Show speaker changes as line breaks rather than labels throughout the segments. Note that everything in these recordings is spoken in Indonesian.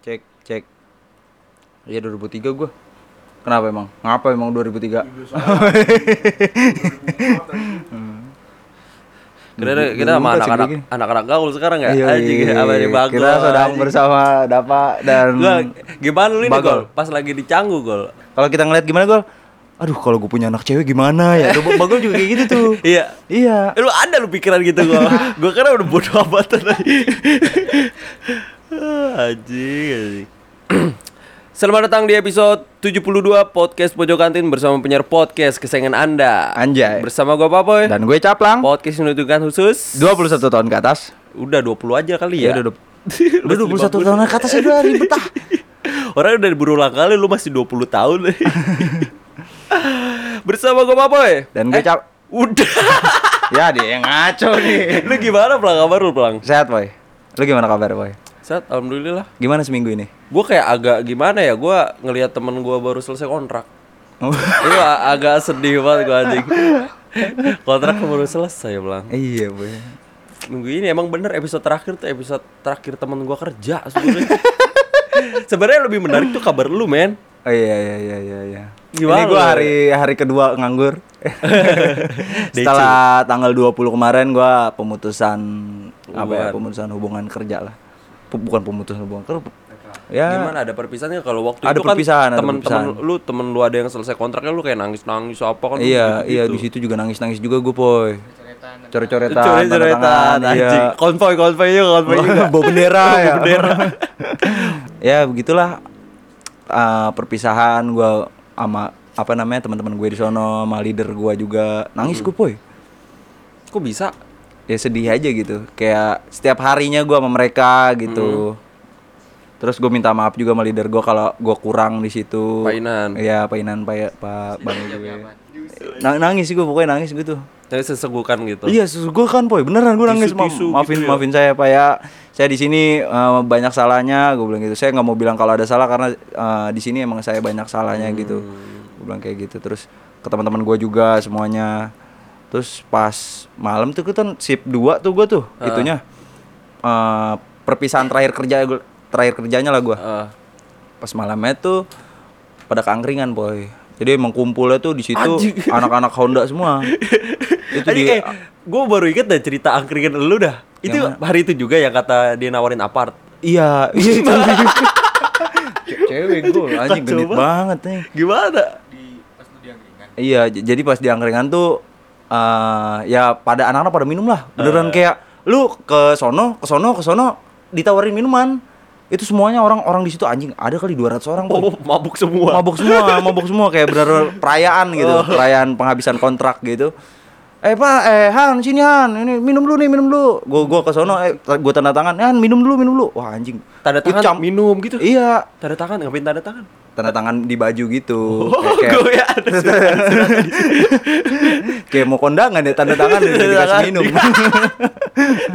Cek, cek. Iya 2003 gua. Kenapa emang? Ngapa emang 2003?
Kira kita
2004
sama
cek
anak-anak
begini.
anak-anak gaul sekarang ya?
Iya,
Anjing,
iya,
apa
iya.
nih bagol?
Kita sedang
anjing.
bersama Dapa dan
Gua, gimana lu ini
Bagol.
gol? Pas lagi di Canggu gol.
kalau kita ngeliat gimana gol? Aduh, kalau gue punya anak cewek gimana ya? Gua- Bagol juga kayak gitu tuh.
Iya.
Iya.
Eh, Lu ada lu pikiran gitu gol. gua kira udah bodo amatan tadi. Ah, anjing, anjing. Selamat datang di episode 72 Podcast Pojok Kantin bersama penyiar podcast kesayangan Anda.
Anjay.
Bersama gua Papoy.
Dan gue caplang.
Podcast yang menunjukkan khusus
21 tahun ke atas.
Udah 20 aja kali ya.
Iya, udah Udah 21 tahun ke atas ya udah ribet ah.
Orang udah berulang kali lu masih 20 tahun. Bersama gue Papoy. Eh,
Dan gue cap
Udah.
ya dia yang ngaco nih.
lu gimana Plang? Kabar lu Plang?
Sehat, Boy. Lu gimana kabar, Boy?
Saat alhamdulillah.
Gimana seminggu ini?
Gue kayak agak gimana ya? Gue ngelihat temen gue baru selesai kontrak.
Oh,
Itu a- agak sedih banget gue anjing. kontrak baru selesai Plang.
iya, Boy.
Minggu ini emang bener episode terakhir tuh episode terakhir temen gue kerja sebenarnya. sebenarnya lebih menarik tuh kabar lu men.
Oh iya iya iya iya iya.
Gimana
ini gua
lu?
hari hari kedua nganggur. Setelah tanggal 20 kemarin gua pemutusan apa ya?
Hubungan.
Pemutusan hubungan kerja lah. Pe- bukan pemutusan hubungan kerja. pe- Ya.
Gimana ada perpisahan nggak? kalau waktu
Ada
itu kan
perpisahan, ada
teman-teman
perpisahan.
lu temen lu ada yang selesai kontraknya lu kayak nangis-nangis apa kan? lu
Iya,
gitu-gitu.
iya di situ juga nangis-nangis juga gue, Boy. Coret-coretan,
Coret-coretan
tanda tangan, iya.
anjing. Konvoy konvoy juga konvoy juga.
bawa bendera ya.
bendera.
ya begitulah eh, perpisahan gua sama apa namanya teman-teman gue di sono, sama leader gua juga nangis gue poy.
Kok bisa?
Ya sedih aja gitu. Kayak setiap harinya gua sama mereka gitu. Terus gue minta maaf juga sama leader gua kalau gua kurang di situ.
Painan.
Iya, painan Pak Pak Bang gue. Nang- nangis gue pokoknya nangis gue tuh.
Tapi sesegukan gitu.
Iya, susu gue kan, boy. Beneran gue nangis. Ma-
tisu
maafin, maafin saya, pak ya. Saya di sini eh, banyak salahnya, gue bilang gitu. Saya nggak mau bilang kalau ada salah karena eh, di sini emang saya banyak salahnya
Hmm.
gitu. Gue bilang kayak gitu. Terus ke teman-teman gue juga semuanya. Terus pas malam tuh gua kan sip 2 tuh gue tuh, itunya eh, perpisahan terakhir kerja gua- terakhir kerjanya lah gue.
Ah.
Pas malamnya tuh pada keangkringan, boy. Jadi emang kumpulnya tuh di situ anak-anak Honda semua. itu
Anjing,
di
eh, gue baru inget dah cerita angkringan lu dah. Itu hari itu juga yang kata dia nawarin apart.
Iya, iya itu. Cewek gue anjing genit banget nih.
Gimana?
Iya, j- jadi pas di angkringan tuh eh ya pada anak-anak pada minum lah. Beneran kayak lu ke sono, ke sono, ke sono ditawarin minuman. Itu semuanya orang-orang di situ anjing ada kali 200 orang. Boy.
Oh, mabuk semua.
Mabuk semua, mabuk semua kayak bener perayaan gitu, perayaan penghabisan kontrak gitu. Eh Pak, eh Han, sini Han, ini minum dulu nih, minum dulu. Gua gua ke sono, eh ta- gua tanda tangan, Han minum dulu, minum dulu. Wah anjing.
Tanda
Itu
tangan
cam-
minum gitu.
Iya,
Tanda tangan ngapain tanda tangan?
tanda tangan di baju gitu
Oh,
kayak,
gue ya ada surat- surat tadi.
kayak mau kondangan ya tanda tangan udah
Tanda
dikasih
tangan.
minum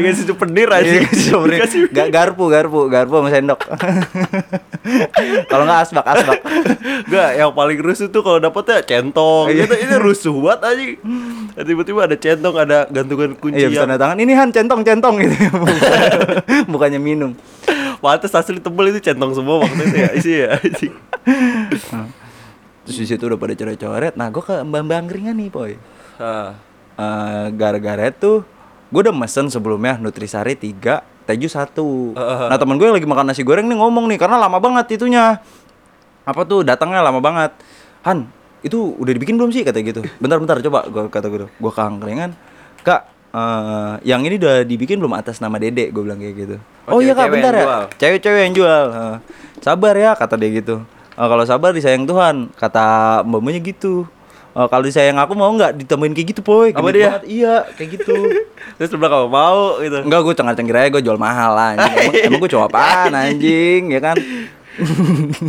Dikasih souvenir aja.
Iya, dikasih souvenir.
Dikasih
Ga- garpu garpu garpu sama sendok kalau nggak asbak asbak
Gak, yang paling rusuh tuh kalau dapetnya centong
Iya.
gitu. Ini rusuh banget aja. Tiba-tiba ada centong, ada
iya
gantungan kunci
bisa
yang
tanda tangan ini han centong centong gitu bukannya minum
pantes asli tebel itu centong semua waktu itu ya. Isi ya. anjing. Hmm.
terus di situ udah pada coret-coret nah gue ke mbak mbak angkringan nih boy
Ah,
Eh, gara-gara tuh gue udah mesen sebelumnya nutrisari 3 teju 1 nah teman gue yang lagi makan nasi goreng nih ngomong nih karena lama banget itunya apa tuh datangnya lama banget Han itu udah dibikin belum sih kata gitu bentar-bentar coba gue kata gue gue keangkringan kak eh, yang ini udah dibikin belum atas nama dede gue bilang kayak gitu oh,
Oh,
iya kak
cewek-cewek
bentar ya
yang jual."
cewek-cewek yang jual Eh, sabar ya kata dia gitu Eh, kalau sabar disayang Tuhan kata mbaknya gitu Eh, kalau disayang aku mau nggak ditambahin kayak gitu boy
Apa
Genit
dia?
banget. iya kayak gitu
Terus sebelah kamu mau gitu.
enggak gue cengar cengir aja gue jual mahal lah anjing. emang, emang gue cowok apaan anjing ya kan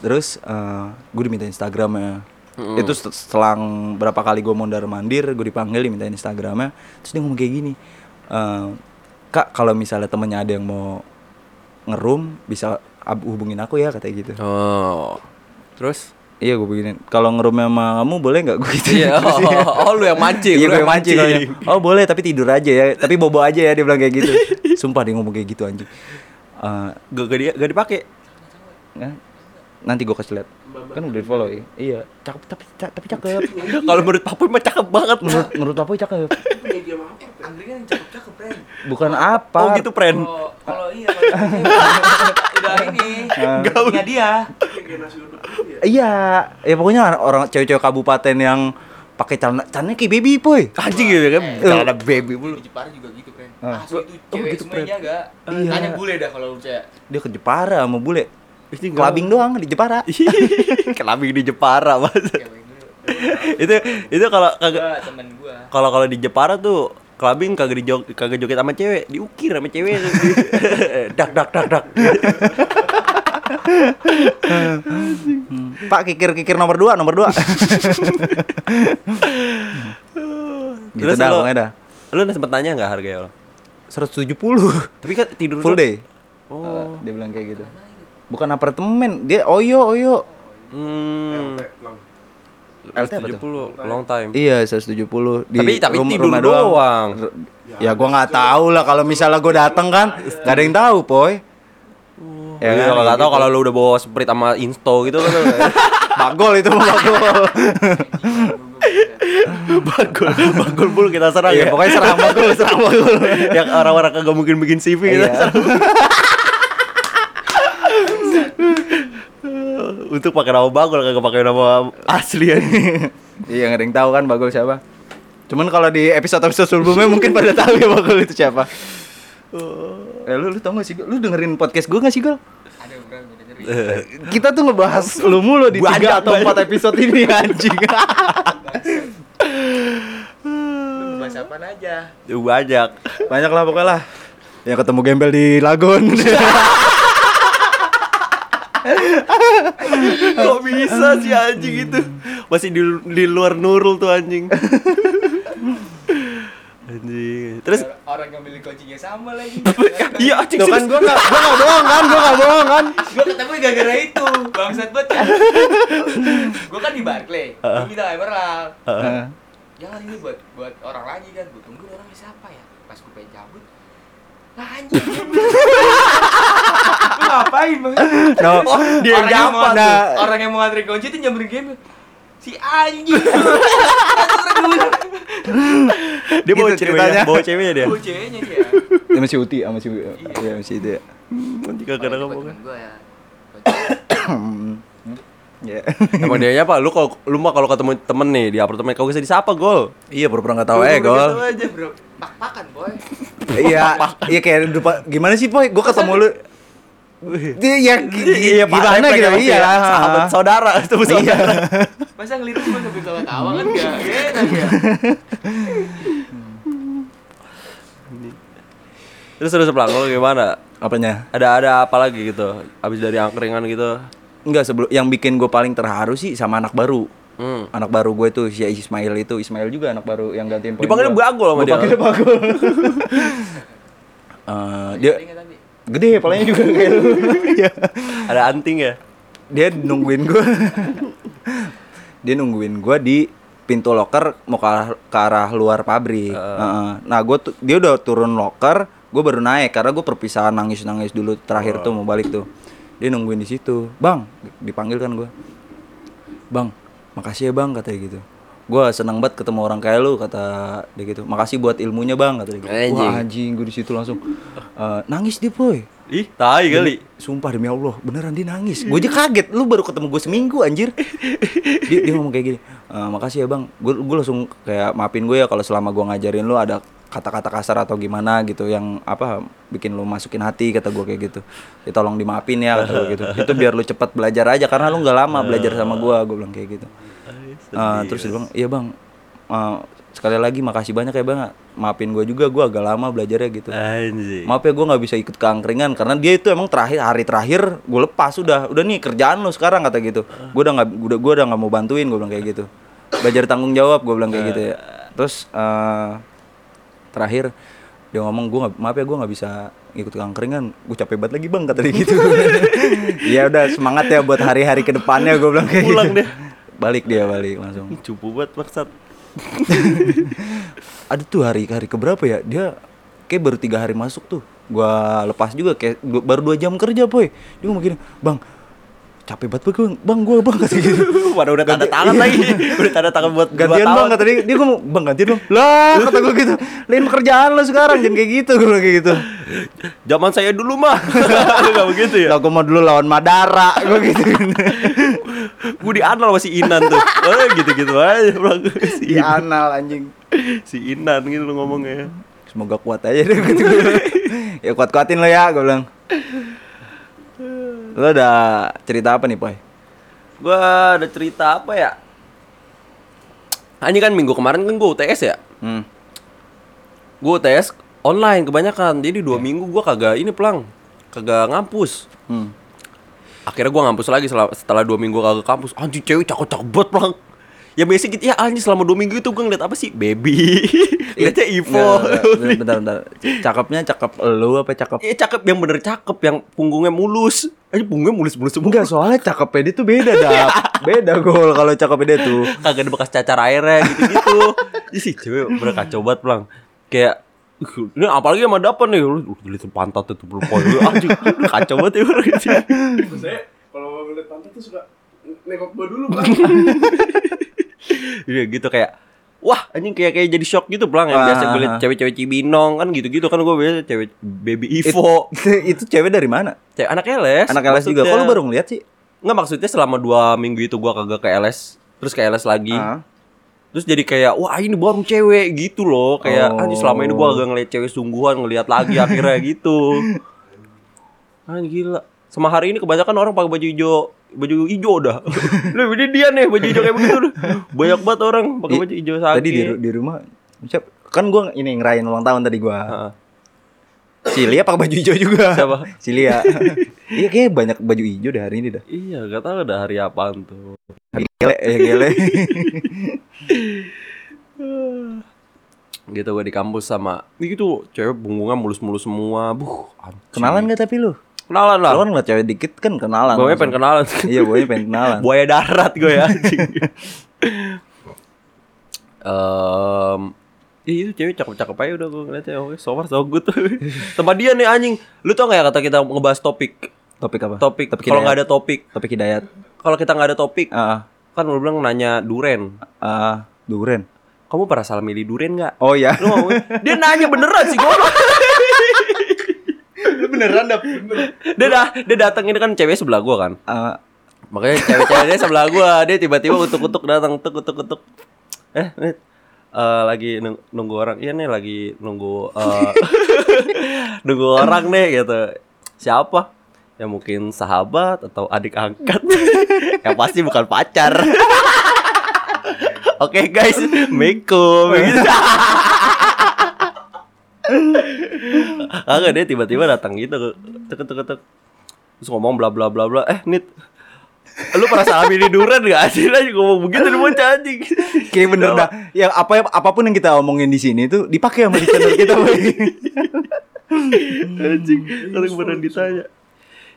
terus eh, gue diminta Instagramnya itu set- selang berapa kali gue mondar mandir gue dipanggil diminta Instagramnya terus dia ngomong kayak gini eh, kak kalau misalnya temennya ada yang mau ngerum bisa ab- hubungin aku ya katanya gitu
Oh. Terus?
iya gue beginin kalau ngerumnya sama kamu boleh nggak gue gitu
Iya, oh, oh, lu yang mancing,
iya
lu
gue yang mancing soalnya. oh boleh tapi tidur aja ya tapi bobo aja ya dia bilang kayak gitu sumpah dia ngomong kayak gitu anjing Eh,
Gak, gak, dia- gak dipakai.
eh, nanti gue kasih lihat kan udah di follow ya iya cakep tapi ca- tapi cakep
Kalau menurut Papoy mah cakep banget.
menurut menurut apa cakep
punya Iya, dia mah Anggrek yang cakep-cakep, Pren.
bukan apa
Oh gitu, Pren.
Kalau kalau iya kalau dia udah ini
Ah.
punya dia.
iya ya pokoknya orang cewek-cewek kabupaten yang pakai celana celananya kayak baby boy Eh.
Anjing gitu kan. Celana baby
Dulu
bulu.
Jepara juga gitu, Pren.
Ah.
Asli itu cewek
gitu,
semuanya enggak.
Iya.
Tanya bule dah kalau lu percaya.
dia ke Jepara sama bule
Ini nggak-
kelabing doang di Jepara
Kelabing di Jepara, Mas.
Cewek dulu.
itu itu kalau kagak
Gua temen gua.
kalau kalau di Jepara tuh kelabing kagak dijog kagak joget sama cewek, diukir sama cewek. dak dak dak dak. Hmm.
Pak kikir kikir nomor dua nomor dua gitu
Terus
dah
lo-
pokoknya dah
Lu udah sempet nanya enggak harganya? Lo?
170
Tapi kan tidur
full
tuh-
day oh. dia bilang kayak gitu bukan apartemen dia oyo oyo
Hmm.
LT apa
70 long time.
iya 170 di
Tapi- tapi
rum-
tidur
rumah
doang.
R- ya gua nggak tahu lah kalau misalnya gua dateng kan nggak ada yang tahu poy
Ya,
kan,
kalau nggak tahu
gitu.
kalau lu udah bawa sprit sama insto gitu kan.
bagol itu mah bagol
bagul, bagul bulu kita serang
Iya,
ya.
pokoknya serang bagol serang bagol
yang orang-orang kagak mungkin bikin CV gitu.
Iya.
Untuk pakai nama bagul kagak pakai nama asli ya.
Iya nggak ada yang tahu kan Bagol siapa. Cuman kalau di episode episode sebelumnya mungkin pada tahu ya Bagol itu siapa.
Oh.
Eh, lu lu tau gak sih Gol? lu dengerin podcast gue gak sih Gol?
Ada orang yang dengerin.
Eh.
Kita tuh ngebahas lu mulu di
Banyak,
tiga atau
banyak.
empat episode ini anjing. Ah.
Lu bahas apaan aja.
Banyak.
Banyak lah pokoknya lah. Ya ketemu gembel di Lagun.
Kok bisa sih anjing itu? Masih di, di luar Nurul tuh anjing. anjing. Terus
Orang yang beli kuncinya sama lagi.
iya anjing
Tuh kan
serius.
gue gak, gua gak bohong kan, gue gak bohong kan
Gua ketemu gara-gara itu. Bangsat banget. kan. Gua kan di Barclay.
Ah.
Gua minta Emerald.
Heeh.
jangan ini buat buat orang lagi kan gue tunggu orangnya siapa ya pas gue pengen cabut lah anjing Lu ngapain bang
No,
dia
orang yang
dapat
mau antri,
Nah, tuh.
orang yang mau antri kunci itu nyamperin game si anjing
Dia bawa
Gitu
ceweknya,
ceritanya.
bawa ceweknya dia.
bocenya dia
Sama si Uti, sama si, iya, sama si itu ya
Nanti kagak
Orang itu
ngomong.
buat temen gua ya
Iya.
Emang dia apa? Lu kalau lu mah kalau ketemu temen nih di apartemen kau bisa disapa gol.
Iya, pura-pura gak tau eh Gol
Gua gitu aja bro pak-pakan boy
Iya, iya kayak dupa- gimana sih Poy? Gue ketemu lu Dia ya gi- gi-
Iya, Pak
gimana
Lepek
gitu
ya, pasti
iya.
ya. Sahabat saudara, itu
Iya.
saudara.
masa ngelirik gua sambil ketawa-tawa kan gak enak ya
Terus terus pelang lu gimana?
Apanya?
Ada ada apa lagi gitu? Abis dari angkringan gitu.
Enggak sebelum yang bikin gue paling terharu sih sama anak baru.
Hmm.
Anak baru gue tuh si Ismail itu, Ismail juga anak baru yang gantiin poin
Dipanggilnya
gua.
Bagol sama
Gua
dia.
Panggilnya Bagol. Eh, dia
Ingat tapi
gede palanya juga kayak lu. Iya.
Ada anting ya?
dia nungguin gue. dia nungguin gue di pintu loker mau ke arah, ke arah luar pabrik. Heeh. Nah, gue tuh dia udah turun loker, gue baru naik karena gue perpisahan nangis-nangis dulu terakhir tuh mau balik tuh. Dia nungguin di situ. Bang, dipanggil kan gue. Bang, makasih ya bang katanya gitu. Gue seneng banget ketemu orang kayak lu kata dia gitu. Makasih buat ilmunya bang kata dia. Gitu.
Anjing.
Wah anjing, gue di situ langsung eh, nangis dia boy.
Ih, tai kali.
Sumpah demi Allah, beneran dia nangis. Gue aja kaget, lu baru ketemu gue seminggu anjir. Dia, dia ngomong kayak gini, "Eh, makasih ya bang. Gue gue langsung kayak maafin gue ya kalau selama gue ngajarin lu ada kata-kata kasar atau gimana gitu yang apa bikin lu masukin hati kata gue kayak gitu. Ya tolong dimaafin ya kata gue gitu. Itu biar lu cepat belajar aja karena lu nggak lama belajar sama gue. Gue bilang kayak gitu. Eh, terus dia bilang, iya bang. eh, sekali lagi makasih banyak ya bang. Maafin gue juga, gue agak lama belajarnya gitu
Anjing.
maaf ya gue nggak bisa ikut ke angkringan karena dia itu emang terakhir hari terakhir gue lepas udah udah nih kerjaan lu sekarang kata gitu gue udah nggak udah gue udah nggak mau bantuin gue bilang kayak gitu belajar tanggung jawab gue bilang kayak gitu ya terus eh, terakhir dia ngomong gue maaf ya gue nggak bisa ikut ke angkringan gue capek banget lagi bang kata dia gitu ya udah semangat ya buat hari-hari kedepannya gue bilang kayak
Pulang
gitu
dia.
balik dia balik langsung
Cupu banget maksud.
ada tuh hari hari keberapa ya dia kayak baru tiga hari masuk tuh gua lepas juga kayak du- baru dua jam kerja boy dia ngomong gini bang capek banget Boy, gua- bang gua bang kata gitu
Waduh udah tanda tangan lagi. Udah tanda tangan buat dua
gantian bang
tahun.
kata dia dia ngomong bang gantian dong lah kata gua gitu lain pekerjaan lo sekarang jangan kayak gitu gua bilang kayak gitu
Zaman saya dulu mah. Enggak begitu ya.
lah gua mau dulu lawan Madara gua gitu
Gue di anal masih Inan tuh. Eh, gitu-gitu aja bang. Si,
Ya.
di anal anjing
si Inan gitu lo ngomongnya.
semoga kuat aja deh gitu. ya kuat kuatin lo ya gue bilang lo udah cerita apa nih boy
Gua ada cerita apa ya? Anjing kan minggu kemarin kan gue UTS ya.
hmm.
Gue UTS online kebanyakan. Jadi dua minggu gua kagak ini pelang. Kagak ngampus.
Hmm.
Akhirnya gua ngampus lagi setelah, setelah dua minggu kagak kampus. Anjing cewek cakep-cakep banget pelang. Ya basic gitu ya anjing selama dua minggu itu gue ngeliat apa sih? Baby. Liatnya
Iya,
Ivo.
Nggak, nggak, nggak. bentar bentar cakepnya cakep lo apa cakep
Iya cakep yang bener cakep yang punggungnya mulus. Aja punggungnya mulus-mulus semua.
enggak soalnya cakepnya dia tuh beda
Iya.
dah beda gol kalau cakepnya dia tuh
kagak ada bekas cacar airnya gitu-gitu. Ih sih cewek bener kacau banget pelang. Kayak "Ih, ini apalagi sama dapat nih lu lihat pantat itu belum poin lu anjing lu kacau banget ya orang gitu.
Saya kalau ngeliat pantat tuh suka nengok gua dulu, Bang.
Iya gitu kayak wah anjing kayak kayak jadi shock gitu pelang ya
Ah.
biasa gue liat cewek-cewek Cibinong kan gitu-gitu kan gue biasa cewek baby Ivo
itu cewek dari mana
cewek anak LS
anak LS juga kok
maksudnya.
lu baru ngeliat sih
nggak maksudnya selama dua minggu itu gua kagak ke LS terus ke LS lagi
Ah.
terus jadi kayak wah ini baru cewek gitu loh kayak
Oh.
anjing selama ini gua kagak ngeliat cewek sungguhan ngeliat lagi akhirnya gitu anjing gila sama hari ini kebanyakan orang pakai baju hijau baju hijau dah lebih ini dia nih baju hijau kayak begitu dah. banyak banget orang pakai baju hijau sakit
tadi di, ru- di rumah siap kan gue ini ngerayain ulang tahun tadi gue
Heeh.
si Lia pakai baju hijau juga
Ah. Siapa?
si Lia iya kayaknya banyak baju hijau deh hari ini dah
iya gak tahu dah hari apaan tuh
gele ya gele
gitu gue di kampus sama gitu cewek punggungnya mulus-mulus semua buh anjing.
kenalan gak tapi lu
kenalan lah
Lu kan ngeliat cewek dikit kan kenalan
Gue Ah. pengen kenalan.
Iya, buaya pengen kenalan.
Buaya darat gue ya anjing. Em, Ih, itu cewek cakep-cakep aja udah gue ngeliatnya Oke, so far so good Tempat dia nih anjing Lu tau gak ya kata kita ngebahas topik
Topik ya? apa?
Topik, Kalau
hidayat.
gak ada topik
Topik hidayat
Kalau kita gak ada topik
Ah,
Kan lu bilang nanya Duren
ah, ah, Duren
Kamu pernah salah milih Duren gak?
Oh iya
Lu ngomongin Dia nanya beneran sih gue
Beneran dah, bener.
Dia, dah, dia datang ini kan cewek sebelah gue kan
Ah,
Makanya cewek-cewek dia sebelah gua, dia tiba-tiba utuk-utuk datang utuk-utuk-utuk. Eh, nih eh, lagi nung- nunggu orang. Iya nih lagi nunggu eh, nunggu orang nih gitu. Siapa? Ya mungkin sahabat atau adik angkat. Yang pasti bukan pacar. Oke guys, Meko gitu. Kagak dia tiba-tiba datang gitu. Tek tek tek. Terus ngomong bla bla bla bla. Eh, Nit. Lu pernah salah milih duren gak? Anjing aja ngomong begitu di bocah anjing.
Kayak bener dah Ya apa apapun yang kita omongin di sini tuh Dipakai sama di channel kita Boy.
Anjing, kalau beneran ditanya.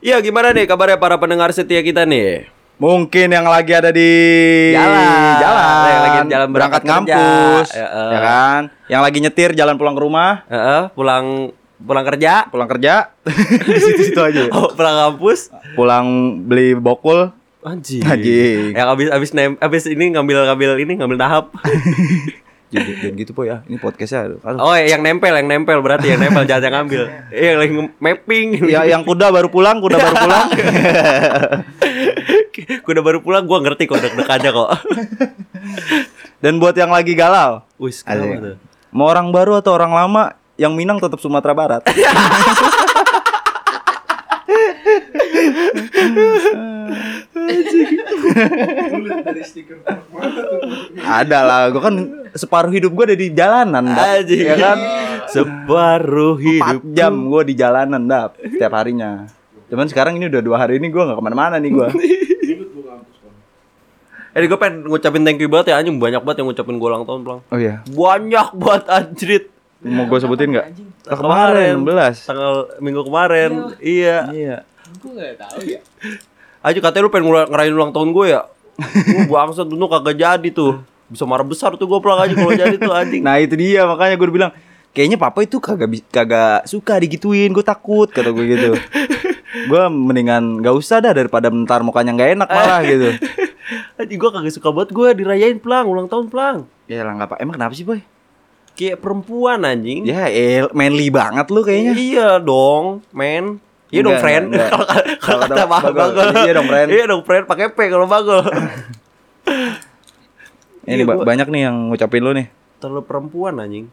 Iya, gimana nih kabarnya para pendengar setia kita nih?
Mungkin yang lagi ada di
Jalan.
Jalan
Yang lagi jalan berangkat
Berangkat
kerja.
ngampus
Ya, eh.
Ya kan Yang lagi nyetir jalan pulang ke rumah
Heeh, pulang pulang kerja,
Pulang kerja Di situ-situ aja ya.
oh, pulang kampus.
Pulang beli bokul
Anjing.
Anjing.
Yang habis habis nem habis ini ngambil ngambil ini ngambil tahap.
Jadi jangan gitu po ya Ini podcastnya aduh.
Oh, yang nempel, yang nempel berarti yang nempel jangan yang ngambil. Iya, yang lagi mapping.
ya yang kuda baru pulang kuda baru pulang
Gua udah baru pulang, gua ngerti kok deg-degannya kok.
dan buat yang lagi galau
Wis,
Asik.
kenapa tuh?
mau orang baru atau orang lama yang Minang tetap Sumatera Barat
Mulut dari stiker mana tuh?
ada lah gue kan separuh hidup gue ada di jalanan dap
Anjing.
ya kan
Separuh
empat
hidup.
jam gue di jalanan dap tiap harinya cuman sekarang ini udah dua hari ini gue nggak kemana-mana nih gue
Mulut gua ngampus, Bang.
Eh, gue pengen ngucapin thank you banget ya anjing banyak banget yang ngucapin gue ulang tahun, Blang.
oh iya
Banyak banget anjrit.
mau gue sebutin nggak kemarin 16
Tanggal minggu kemarin. Iya.
iya
Gue nggak tahu ya.
Aja katanya lu pengen ngura- ngerayain ulang tahun gue ya. Gue bangsat dulu kagak jadi tuh. Bisa marah besar tuh gue pulang aja kalau jadi tuh anjing.
nah itu dia makanya gue bilang kayaknya papa itu kagak bis- kagak suka digituin gue takut kata gue gitu gue mendingan gak usah dah daripada ntar mukanya nggak enak malah gitu
Anjing gue kagak suka banget gue dirayain pelang ulang tahun pelang.
ya lah nggak apa emang kenapa sih boy
Kayak perempuan anjing.
ya el manly banget lu kayaknya
Iya dong, men.
Enggak,
Iya dong, friend.
enggak,
Kalau
enggak.
kalau
Kalau
kata
dong,
Bang
Bagol.
Bagol.
Iya dong, friend.
Iya dong, friend pakai P kalau Bagol.
ini
Iya,
ba-
gua-
banyak nih yang ngucapin lu nih
Terlalu perempuan anjing.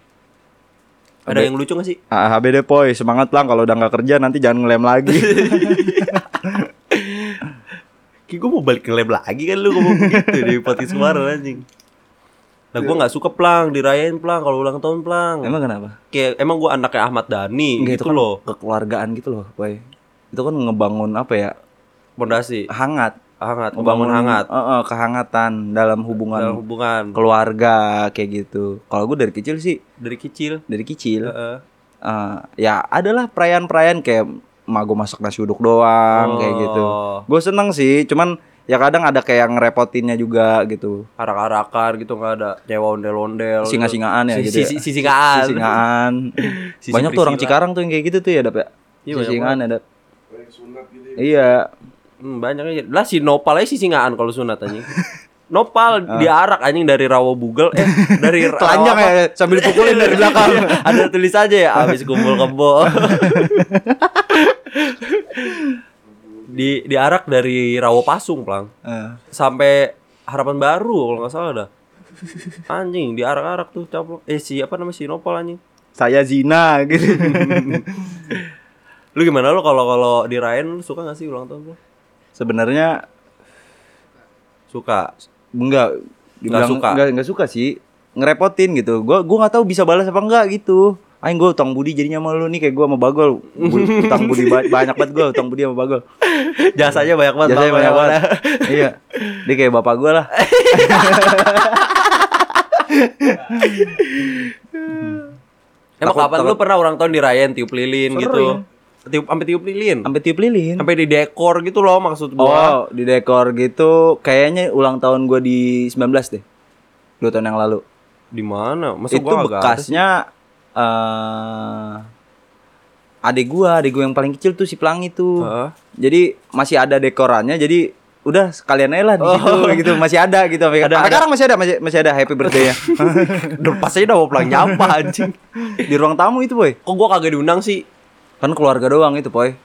Ada-
Ada yang lucu gak sih?
AHBD Poy, semangat lang kalau udah nggak kerja nanti jangan ngelem lagi.
Ki gue mau balik ngelab lagi kan lu ngomong begitu di podcast kemarin anjing. Nah gue gak suka pelang, dirayain pelang kalau ulang tahun pelang.
Emang kenapa?
Kayak emang gue anaknya Ahmad Dhani
Nggak, kan
gitu loh,
kekeluargaan gitu loh, Poy. Itu kan ngebangun apa ya?
pondasi
Hangat,
hangat, membangun hangat
Heeh, kehangatan dalam hubungan
dalam hubungan
keluarga kayak gitu. Kalau gue dari kecil sih,
dari kecil.
dari kecil
Heeh.
eh, ya adalah perayaan-perayaan kayak emak gue masak nasi uduk doang kayak gitu.
Oh.
Gue seneng sih, cuman ya kadang ada kayak ngerepotinnya juga gitu.
arak-arakan gitu nggak ada nyewa ondel-ondel
Singa-singaan ya
Oh, si,
gitu
si,
ya.
si, si singaan
Sisingaan.
Sisi
banyak tuh orang
Priscilla.
Cikarang tuh yang kayak gitu tuh ya, Dap ya.
Iya, banyak
Sisingaan ada.
Kayak sunat gitu ya.
Iya.
hmm, banyak aja lah si nopal aja si singaan kalau sunat anjing nopal diarak anjing dari rawa bugel eh dari rawa
Ah. Telanjang
apa?
ya sambil dipukulin dari belakang.
Iya, ada tulis aja ya habis kumpul kebo di diarak dari rawa pasung plang
Eh,
sampai harapan baru kalau nggak salah dah anjing diarak-arak tuh caplok eh si apa namanya si nopal anjing
saya zina gitu.
Lu gimana lu kalau kalau dirayain lu suka gak sih ulang tahun lu?
Sebenarnya
Suka.
enggak dibilang
suka.
enggak enggak suka sih. Ngerepotin gitu. Gua gua nggak tahu bisa balas apa enggak gitu. Aing gue utang budi jadinya sama lu nih kayak gue sama Bagol. Bu- utang budi ba- banyak banget gue utang budi sama Bagol.
Jasanya banyak banget.
Jasanya
Bang,
banyak
ya, Eh.
banget. iya. Dia kayak bapak gue lah.
Bang. Emang
Takut-
kapan lu
takut.
pernah ulang tahun dirayain tiup lilin
Sering.
gitu? Tiup sampai tiup lilin.
Sampai tiup lilin.
Sampai di dekor gitu loh maksud gua.
Oh, di dekor gitu kayaknya ulang tahun gua di 19 deh. Dua tahun yang lalu.
Di mana? Masa
itu
gua agak
bekasnya eh adik gua, adik gua yang paling kecil tuh si Pelangi tuh.
Heeh.
Jadi masih ada dekorannya jadi udah sekalian aja lah di situ gitu masih ada gitu sampai
Oh. Ada-
sampai
ada.
sekarang masih ada masih, masih ada happy birthday-nya.
Duh, pas aja udah mau pulang nyapa anjing.
di ruang tamu itu, Boy.
Kok gua kagak diundang sih?
Kan keluarga doang itu, Boy.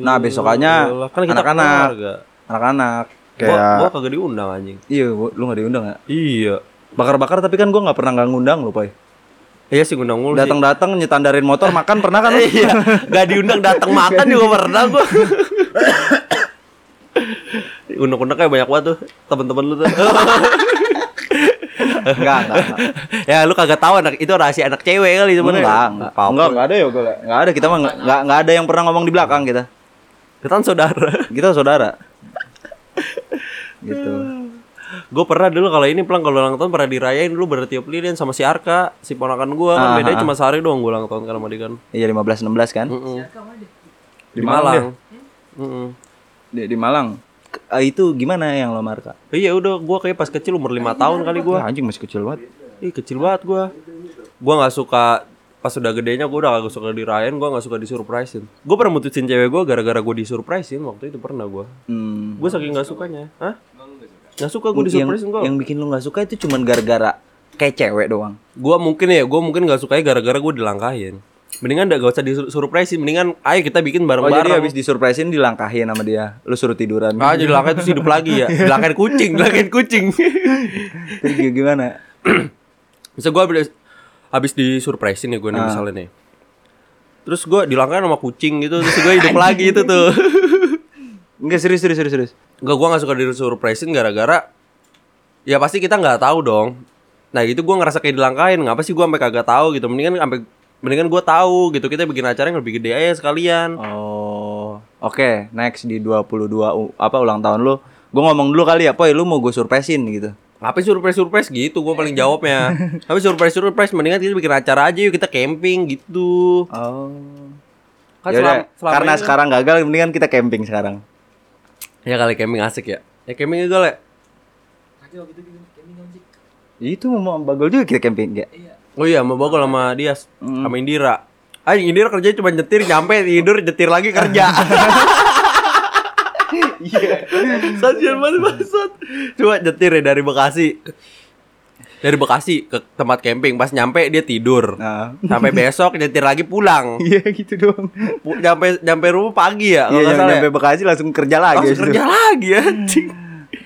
Nah, besokannya
Yalah, Iya, kan kita
anak-anak.
keluarga.
Anak-anak.
Gua, gua
Kayak
kagak diundang anjing.
Iya, Boy, lu gak diundang ya?
Iya.
Bakar-bakar tapi kan gua nggak pernah nggak ngundang lo, Boy.
Iya sih undang mulu sih.
Datang-datang nyetandarin motor makan pernah kan? lu?
Iya, gak diundang datang makan juga pernah gua. Unek-uneknya banyak banget tuh teman-teman lu tuh.
Enggak, enggak.
ya lu kagak tahu anak itu rahasia anak cewek
Enggak,
kali sebenarnya.
enggak.
Apa-apa.
Enggak, enggak ada ya gue. Enggak ada kita mah enggak- enggak enggak ada yang pernah ngomong di belakang kita.
Kita kan saudara.
Kita saudara. gitu.
Gue pernah dulu kalau ini pelang kalau ulang tahun pernah dirayain dulu berarti tiup lilin sama si Arka, si ponakan gua kan
Ah, ah,
bedanya cuma sehari doang gua ulang tahun kan sama dia kan.
Iya 15 16 kan?
Mm-mm. Di,
Di
Malang.
Malang
Mm-mm.
Di, di Malang. Ke- eh, itu gimana yang lo marka?
Iya udah gua kayak pas kecil umur 5 tahun kali gua.
Wah, anjing masih kecil banget.
Ih kecil banget gua. Gua nggak suka pas udah gedenya gua udah gak suka dirayain, gua nggak suka disurprisein. Gua pernah mutusin cewek gua gara-gara gua disurprisein waktu itu pernah gua.
Hmm.
Gua saking nggak sukanya. Hah? Nggak suka gua
Yang,
disurprisein gua.
yang bikin lo nggak suka itu cuman gara-gara kayak cewek doang.
Gua mungkin ya, gua mungkin nggak sukanya gara-gara gua dilangkahin. Mendingan gak, gak usah disurprisein, mendingan ayo kita bikin
Oh,
bareng-bareng.
jadi habis disurprisein dilangkahin sama dia. Lu suruh tiduran.
Ah, jadi langkahin terus hidup lagi ya. Dilangkahin kucing, dilangkahin kucing.
Terus gimana?
Bisa gue habis, habis disurprisein nih gue nih misalnya nih. Terus gue dilangkain sama kucing gitu, terus gue hidup lagi itu tuh.
Enggak serius serius serius serius.
Enggak, gue gak suka disurprisein gara-gara Ya pasti kita gak tahu dong Nah itu gue ngerasa kayak dilangkain Ngapa sih gue sampai kagak tahu gitu Mendingan sampai Mendingan gue tahu gitu Kita bikin acara yang lebih gede aja sekalian
Oh, oke. Next di 22 u- apa ulang tahun lu, gue ngomong dulu kali ya, "Poy, lu mau gue surprisein gitu."
Apa sih surprise-surprise gitu Gue paling jawabnya Tapi surprise-surprise Mendingan kita bikin acara aja yuk Kita camping gitu
Oh.
Kan selam- selama
karena
ini-
sekarang gagal mendingan kita camping sekarang.
Ya kali camping asik ya Ya camping juga lah
Nanti waktu itu bikin gaming kan sih.
Itu mau bagel juga kita camping ya?
Iya.
Oh iya, sama Bagol sama Dias,
Hmm.
sama Indira. Ah, Indira kerjanya cuma nyetir, nyampe tidur, nyetir lagi kerja.
Iya.
Kasian banget bangsat. Coba nyetir ya dari Bekasi. Dari Bekasi ke tempat camping, pas nyampe dia tidur.
Nah.
Sampai besok nyetir lagi pulang.
Iya gitu doang.
Pu- nyampe nyampe rumah pagi ya kalau
Iya,
nggak
yang
salah.
nyampe
ya?
Bekasi langsung kerja lagi.
Langsung
abis itu.
kerja lagi ya. anjing.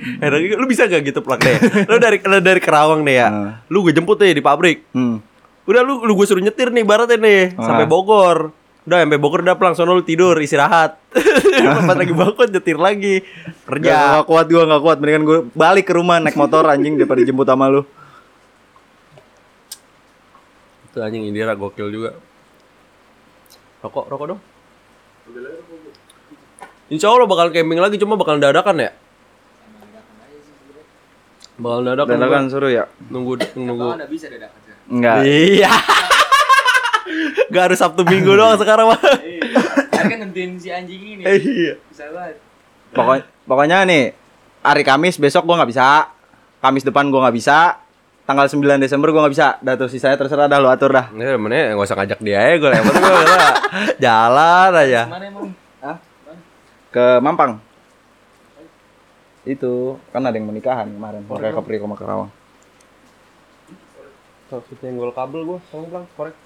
Heran juga, lu bisa gak gitu plak deh? Lu dari lu dari Kerawang deh ya.
Nah.
Lu gue jemput deh di pabrik.
Hmm.
Udah lu lu gue suruh nyetir nih baratnya nih sampai Bogor. Udah sampai Bogor udah pulang sono lu tidur istirahat. Pas lagi bangun nyetir lagi
Gak,
kerja.
gak kuat gua gak kuat mendingan gua balik ke rumah naik motor anjing daripada jemput sama lu.
Itu anjing Indira gokil juga. Rokok, rokok dong. Insya Allah bakal camping lagi cuma bakal dadakan ya. Bakal dadakan.
Dadakan suruh ya.
Nunggu nunggu.
Kalau nggak bisa ya. dadakan sih.
Enggak.
Iya. Gak harus Sabtu Minggu doang sekarang mah.
Iya.
Saya kan nentuin si anjing ini.
Eh.
Iya.
Bisa banget.
Pokoknya, pokoknya nih hari Kamis besok gua nggak bisa. Kamis depan gua nggak bisa. Tanggal 9 Desember gua nggak bisa. Dah tuh sisanya terserah dah lu atur dah.
Ya, mana gak usah ngajak dia ya gue lewat ya. gue udah. jalan aja.
Mana emang?
Ke Mampang. Itu kan ada yang menikahan kemarin. Pakai Capri sama Kerawang.
Takut nyenggol kabel gue, tolong bilang korek.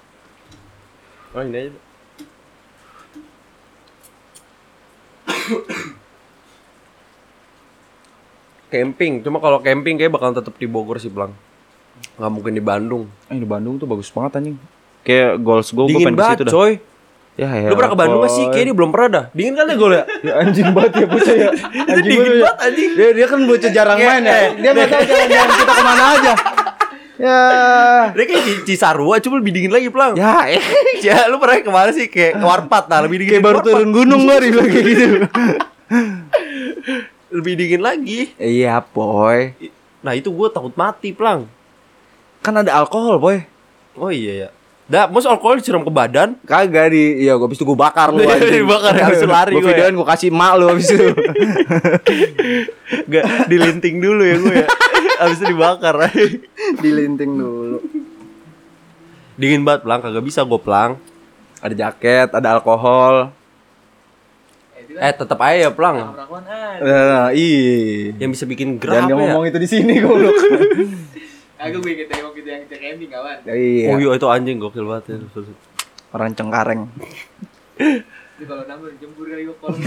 Oh ini aja. camping, cuma kalau camping kayak bakal tetap di Bogor sih Blang. Nggak mungkin di Bandung.
Eh di Bandung tuh bagus banget anjing. Kayak goals gua gua
Dingin
pengen ke situ
banget
dah.
coy.
Ya, ya.
Lu pernah ke Bandung gak sih? Kayaknya dia belum pernah dah. Dingin kali ya, gol ya?
Ya, anjing banget ya bocah ya. Anjing
dingin
banget ya.
banget, anjing. eh,
Dia, dia kan bocah jarang main ya. Dia nggak tahu jalan-jalan kita kemana aja. Ya.
Dia kayak di Cisarua cuma lebih dingin lagi Blang.
Ya, eh.
Ya, lu pernah kemana sih kayak ke Warpat nah, lebih dingin.
kayak
di
baru
Warpat.
turun gunung gua dibilang kayak gitu.
Lebih dingin lagi.
Iya, boy.
Nah, itu gue takut mati, Plang.
Kan ada alkohol, boy.
Oh iya ya. Dah, mos alkohol disiram ke badan.
Kagak di, ya gua habis itu gua bakar lu anjing.
Iya, Dibakar, habis itu lari
Gua
gua ya.
videoin gua kasih emak lu habis itu.
Gak dilinting dulu ya gue ya. Habis itu dibakar.
Dilinting dulu.
Dingin banget, Plang. Kagak bisa gue, Plang.
Ada jaket, ada alkohol.
Eh, itu kan
Eh, tetap aja ya, Plang.
perakuan ah.
Nah, ih.
Yang bisa bikin
Jangan
gerak
dia
ya.
ngomong itu di sini goblok.
Kagak gue inget dari waktu itu gitu, yang kita camping kawan.
Ya, iya.
Oh iya, itu anjing gokil banget ya.
Orang cengkareng.
Itu kalau nambah jembur kali gue kolom.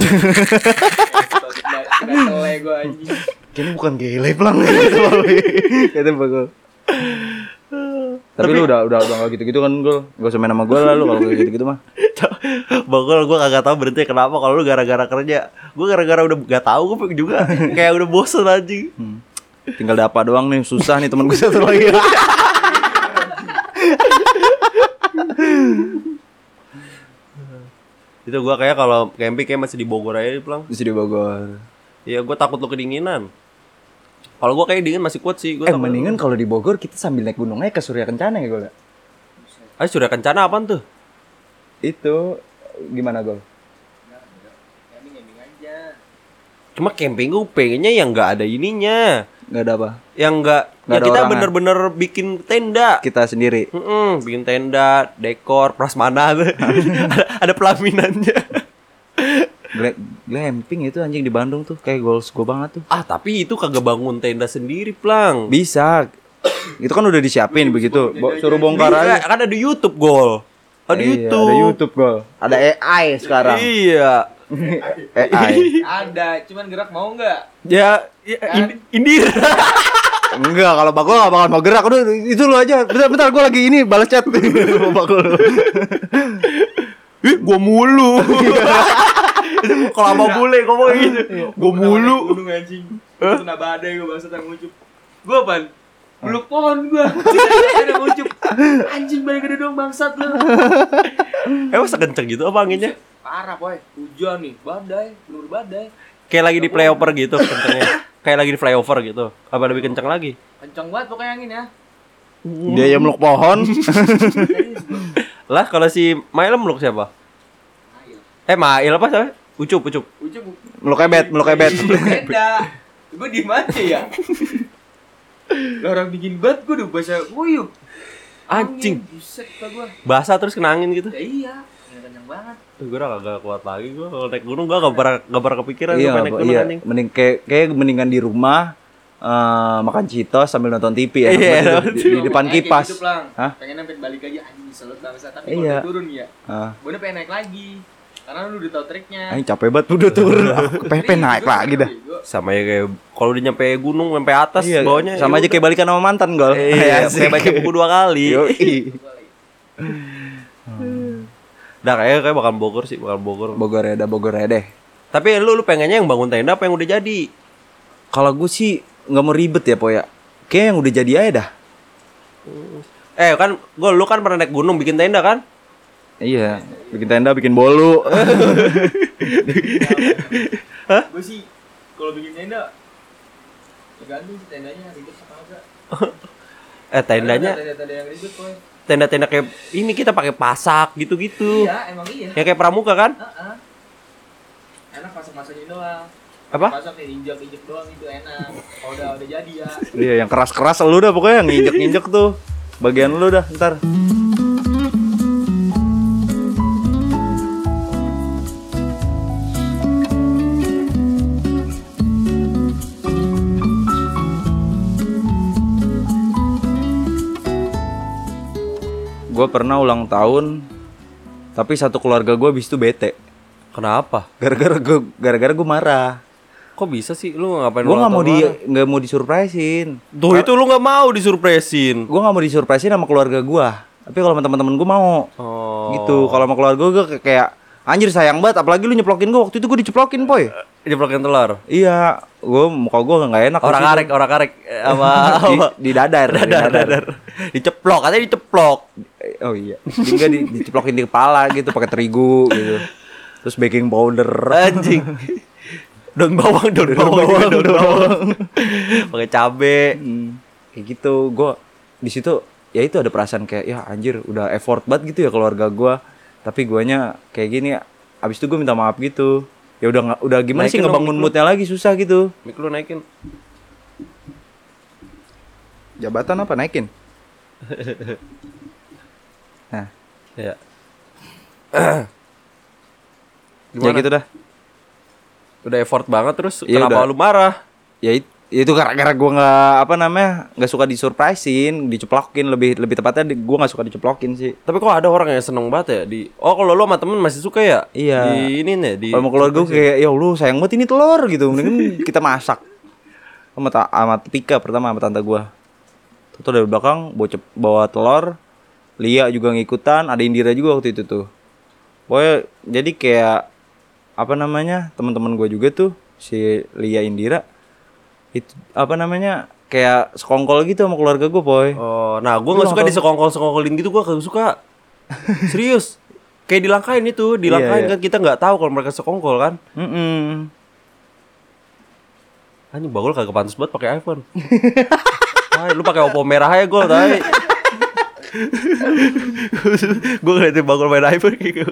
Kena tele gue anjing.
Kayaknya bukan gele pelang Kata bagol. Tapi, lu udah udah udah gak gitu-gitu kan gol. Gak usah main sama gue lah lu kalau kayak gitu-gitu mah.
Bagol gue kagak tahu berhenti kenapa kalau lu gara-gara kerja. Gue gara-gara udah gak tahu gue juga kayak udah bosen anjing.
Tinggal dapa doang nih susah nih teman gue satu lagi.
Itu gue kayak kalau camping kayak masih di Bogor aja, Plang.
Di sini Bogor.
Ya gue takut lu kedinginan. Kalau gue kayak dingin masih kuat sih. Gua
Eh
takut-
mendingan kalau di Bogor kita sambil naik gunung aja ke Surya Kencana ya gol. ya?
Ah sudah kencana apaan tuh?
Itu gimana gol?
Camping camping aja.
Cuma camping gue pengennya yang nggak ada ininya,
Gak ada apa.
yang nggak
Nggak
yang
ada
kita
orangan.
bener-bener bikin tenda.
Kita sendiri.
Mm-mm, bikin tenda, dekor, prasmanan, ada, ada pelaminannya.
Gla- Glamping itu anjing di Bandung tuh kayak goals gue banget tuh.
ah tapi itu kagak bangun tenda sendiri plang.
Bisa. itu kan udah disiapin begitu. Bo- suruh bongkar aja.
Bisa, kan ada di YouTube gol. Ada
Iya,
YouTube.
Ada YouTube gol. Ada AI sekarang.
Iya.
AI.
Ada, cuman gerak mau nggak?
Ya, ya Ind- Indira.
Enggak, kalau bagol gak bakal mau gerak. Udah, itu lu aja. Bentar, bentar gue lagi ini balas chat. Sama bagol.
Ih, gua mulu. Kalau sama bule ngomong gitu, gua mulu.
Gunung anjing. Kena badai gue bahasa tentang ngucup. Gue apaan? Beluk pohon gue. Ada ngucup. Anjing banyak gede dong bangsat lu.
Emang sekenceng gitu apa anginnya?
Parah boy. Hujan nih, badai, pelur badai.
Kayak lagi di flyover gitu kencengnya. Kayak lagi di flyover gitu. Apa lebih kenceng lagi?
Kenceng banget pokoknya angin ya.
Dia yang meluk pohon.
Serius gua.
Lah kalau si Mail meluk siapa?
Ayo.
Eh Mail apa siapa? Ucup, Ucup.
Ucup.
meluk ebet, meluk ebet.
Beda. Gue diem aja ya. Lah orang bikin bat gue udah bahasa kuyup.
Anjing.
Buset kata gua.
Basah terus kena angin gitu.
Ya iya, angin kenceng banget.
Gue udah kagak kuat lagi gue kalau naik gunung gue gak pernah gak pernah kepikiran
iya,
gua pengen naik
Pak,
gunung
iya.
anjing.
Mending kayak, kayak mendingan di rumah eh, makan Cheetos sambil nonton TV ya.
Iya,
Di-
nonton
di,
Gua
di depan
pengen kayak
kipas.
gitu, Plang.
Hah?
Pengennya pengen balik aja anjing selut bangsa tapi
Iya.
kalau udah turun ya.
Ah,
Gue pengen naik lagi. Karena lu udah tau triknya.
anjing capek banget udah turun. Aku Kepepen
Iya,
naik
gua
lagi
pengen
dah.
bego.
Sama ya kayak kalau udah nyampe gunung nyampe atas
Iya,
bawahnya ya
sama aja kayak balikan sama mantan gol.
Iya, kayak baca buku dua kali.
Iya.
Dah Nah, kayak kayak bakal Bogor sih, bakal Bogor.
Bogor ya, dah Bogor ya deh.
Tapi lu lu pengennya yang bangun tenda apa yang udah jadi?
Kalau gue sih nggak mau ribet ya, Poya. Kayak yang udah jadi aja dah.
Eh kan gua lu kan pernah naik gunung bikin tenda kan?
Iya, bikin tenda, bikin bolu.
Gue sih kalau bikin tenda tergantung sih tendanya ribet apa enggak.
Eh tendanya
tenda yang ribet Plang.
tenda-tenda kayak ini kita pakai pasak gitu-gitu.
Iya, emang iya.
Ya kayak pramuka kan?
Heeh. Enak masak-masakin doang.
Apa?
Masak nih injak-injak doang itu enak. Kalau udah udah jadi ya.
Iya, yang keras-keras lu dah pokoknya yang nginjek-nginjek tuh. Bagian lu dah ntar. Gue pernah ulang tahun, tapi satu keluarga gue abis itu bete.
Kenapa?
Gara-gara gue, gara-gara gue marah.
Kok bisa sih lu ngapain
Gue
ulang
nggak mau
tahun
di,
orang?
nggak mau disurprisein.
Tuh itu lu nggak mau disurpresin.
gue nggak mau disurpresin sama keluarga gue tapi kalau sama teman-teman gue mau
Oh.
gitu kalau sama keluarga gue kayak anjir sayang banget apalagi lu nyeplokin gue waktu itu gue diceplokin poy
Jeplokin telur.
iya gue muka gue nggak enak
Orang
waktu itu.
karek, orang karek Eh, apa
di,
apa?
di dadar, di
Dadar, dadar. Diceplok, katanya diceplok.
Eh, oh iya juga di, diceplokin di kepala gitu pakai terigu gitu terus baking powder
Anjing. Daun bawang, daun bawang, juga, daun bawang. Pakai cabe.
Hmm, kayak gitu gue di situ ya itu ada perasaan kayak ya anjir udah effort banget gitu ya keluarga gue tapi guanya kayak gini abis itu gue minta maaf gitu ya udah nggak udah gimana sih
Naikin dong,
ngebangun
mic lu.
moodnya lagi susah gitu
Mik lu naikin.
jabatan apa naikin nah
Ya.
ya gitu dah
Udah effort banget terus
Iya,
kenapa
udah.
lu marah?
ya it- itu gara-gara gue nggak apa namanya nggak suka disurprisein diceplokin lebih lebih tepatnya gue nggak suka diceplokin sih
Tapi kok ada orang yang seneng banget ya di Oh, kalau lu sama temen masih suka ya?
Iya.
Di ini nih di
Kalau mau keluar gue kayak ya lu sayang banget ini telur gitu. Mendingan kita masak. Sama ta sama Tika pertama sama tante gua. Tuh dari belakang bawa, cep- bawa telur. Lia juga ngikutan, ada Indira juga waktu itu tuh. Pokoknya jadi kayak apa namanya? Teman-teman gua juga tuh si Lia Indira itu apa namanya? Kayak sekongkol gitu sama keluarga gua, Boy.
Oh, nah gue nggak suka disekongkol-sekongkolin gitu, gue kagak suka. Serius, kayak dilangkain itu,
Iya,
dilangkain
iya.
kan kita nggak tahu kalau mereka sekongkol kan.
Oh. Mm-mm.
Anjing bagul kagak pantas buat pakai iPhone. Hai, lu pakai Oppo merah aja gol tai. gue ngeliatin bagul main iPhone kayak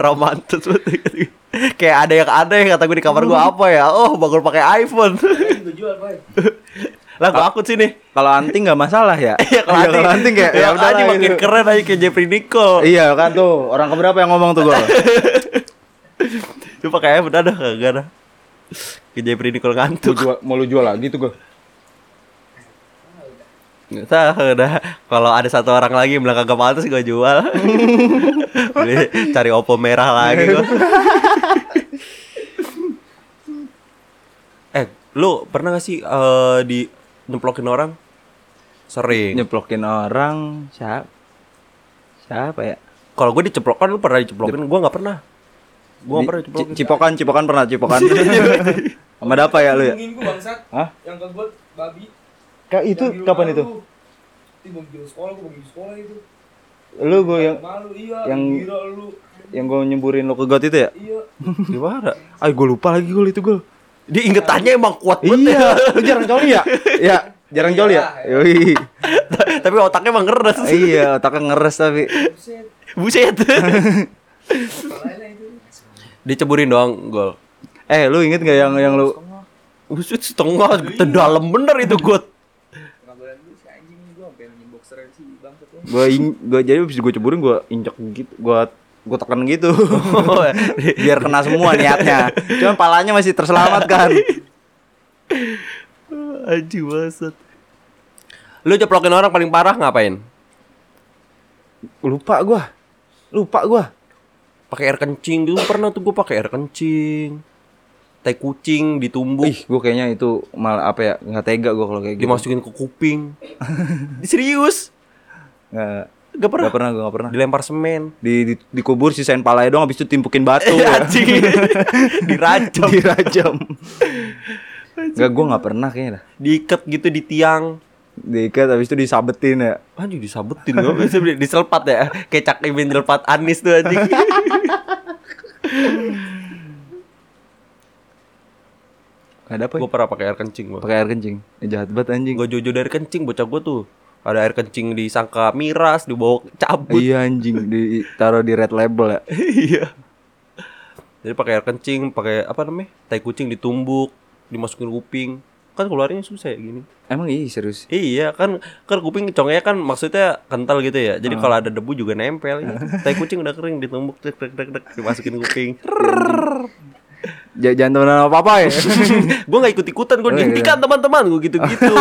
romantis banget kayak ada yang aneh kata gue di kamar gue apa ya oh bagul pakai iPhone
Itu jual, Boy.
lah gue akut sini
Kalau anting nggak masalah ya.
Iya kalau
Iya,
anjing-
anting kayak ya udah
anjing makin keren aja kayak Jeffrey Nicole
Iya kan tuh, orang keberapa yang ngomong tuh gua?
Lu pakai iPhone ada kagak ada? Ke Jeffrey Nicole ngantuk.
jual, mau lu jual lagi tuh gue
Nggak Tahu dah. Kalau ada satu orang lagi yang bilang kagak pantas gue jual. Beli- Cari Oppo merah lagi gua. eh, lu pernah gak sih eh, di nyemplokin orang? Sering.
nyeplokin orang siapa siapa ya
Kalau gue diceplokan lu pernah diceplokin? Gua nggak pernah. Gua nggak pernah
Di-
diceplokin.
Ci- cipokan cipokan pernah cipokan sama apa ya lu ya
Ngomongin gua bangsat.
Hah?
Yang kebuat babi.
itu
Yang di rumah
kapan itu
lu. Itu gua bikin sekolah, gua bikin sekolah itu.
lu gue yang
Malu iya,
Yang-
gembira lu.
yang gue nyemburin lu ke got itu ya
Iya.
Di mana?
ah gue lupa lagi gue itu gue
Dia ingetannya emang kuat banget. ya.
iya lu jarang coli ya ya jarang coli ya Yoi.
Tapi otaknya emang keras.
iya otaknya ngeres tapi
Buset.
Buset.
Kepalanya itu.
Diceburin doang gol.
eh lu inget gak yang yang lu
Buset setengah, dalam bener itu got.
Pengangguran dulu si anjing ini gua sampai nyembok seren sih bangsat.
Gua in- gua jadi abis gua ceburin gua injek gitu, gua gua tekan gitu. Biar kena semua niatnya. Cuman palanya masih terselamatkan.
Aji basat. Lu ceplokin orang paling parah ngapain?
Lupa gua. Lupa gua.
Pakai air kencing dulu pernah tuh gue pakai air kencing. Tai kucing ditumbuk,
Ih, gua kayaknya itu malah apa ya? nggak tega gua kalau kayak gitu.
dimasukin ke kuping. Serius?
Nggak-
Gak pernah.
nggak pernah, gua nggak pernah.
Dilempar semen.
Di, di, dikubur sisain palanya doang habis itu timpukin batu.
Eh,
ya.
anjing. Dirajam,
dirajam nggak gue nggak pernah kayaknya dah
diikat gitu di tiang.
diikat habis itu disabetin ya
Anjing disabetin gua bisa beli- diselpat ya. Kecak ibin diselpat Anis tuh anjing.
nggak ada apa ya?
gue pernah pakai air kencing gua.
pakai air kencing Ya, jahat banget anjing
Gue jojo dari kencing bocah gue tuh. Ada air kencing disangka miras, dibawa cabut.
iya anjing ditaruh di red label ya
Iya. Jadi pakai air kencing, pakai apa namanya? Tai kucing ditumbuk, dimasukin kuping. Kan keluarnya susah ya gini.
emang iya serius
Iya kan kan kuping congnya kan maksudnya kental gitu
Ah.
ya. Jadi kalau ada debu juga nempel. gitu. Tai kucing udah kering ditumbuk dek dek dek dek dimasukin kuping.
J- jangan temenan apa apa ya
gue nggak ikut ikutan gue
Oh, iya.
dihentikan teman-teman gue gitu gitu.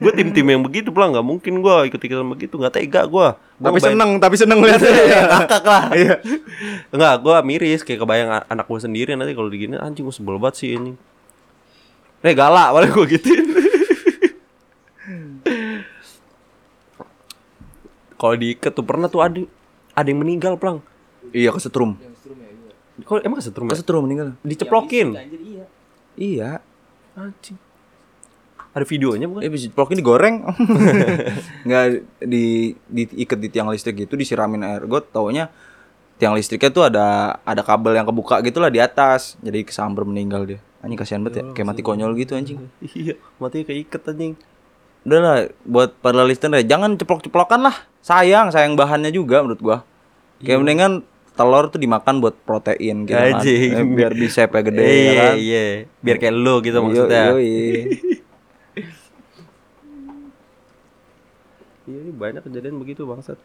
gue tim tim yang begitu pulang nggak mungkin gue ikut ikutan begitu nggak tega gue.
tapi seneng tapi seneng liatnya
Kakak lah. Iya. Enggak, gue miris kayak kebayang a- anak gue sendiri nanti kalau digini anjing gue sebel banget sih ini.
Eh,
Nih galak paling gue gituin. kalau diikat tuh pernah tuh ada ada yang meninggal pelang.
iya kesetrum
Kalau emang kesetrum ya?
kesetrum meninggal
Diceplokin.
Anjir iya.
iya
Anjing. Ada videonya bukan?
eh bisa diplokin digoreng nggak di diikat di tiang listrik gitu disiramin air gue taunya tiang listriknya tuh ada ada kabel yang kebuka gitulah di atas jadi kesambar meninggal dia anjing kasihan banget ya kayak mati konyol gitu anjing
Iya, matinya keiket anjing.
udah lah buat para listener ya, jangan ceplok-ceplokan lah sayang sayang bahannya juga menurut gua kayak mendingan telur tuh dimakan buat protein gitu kan
Anjing.
Eh, biar bisepnya gede ya
Iya,
kan
iya. Biar kayak lo gitu maksudnya.
Yoi, yoi.
Iya, ini banyak kejadian begitu bangsat.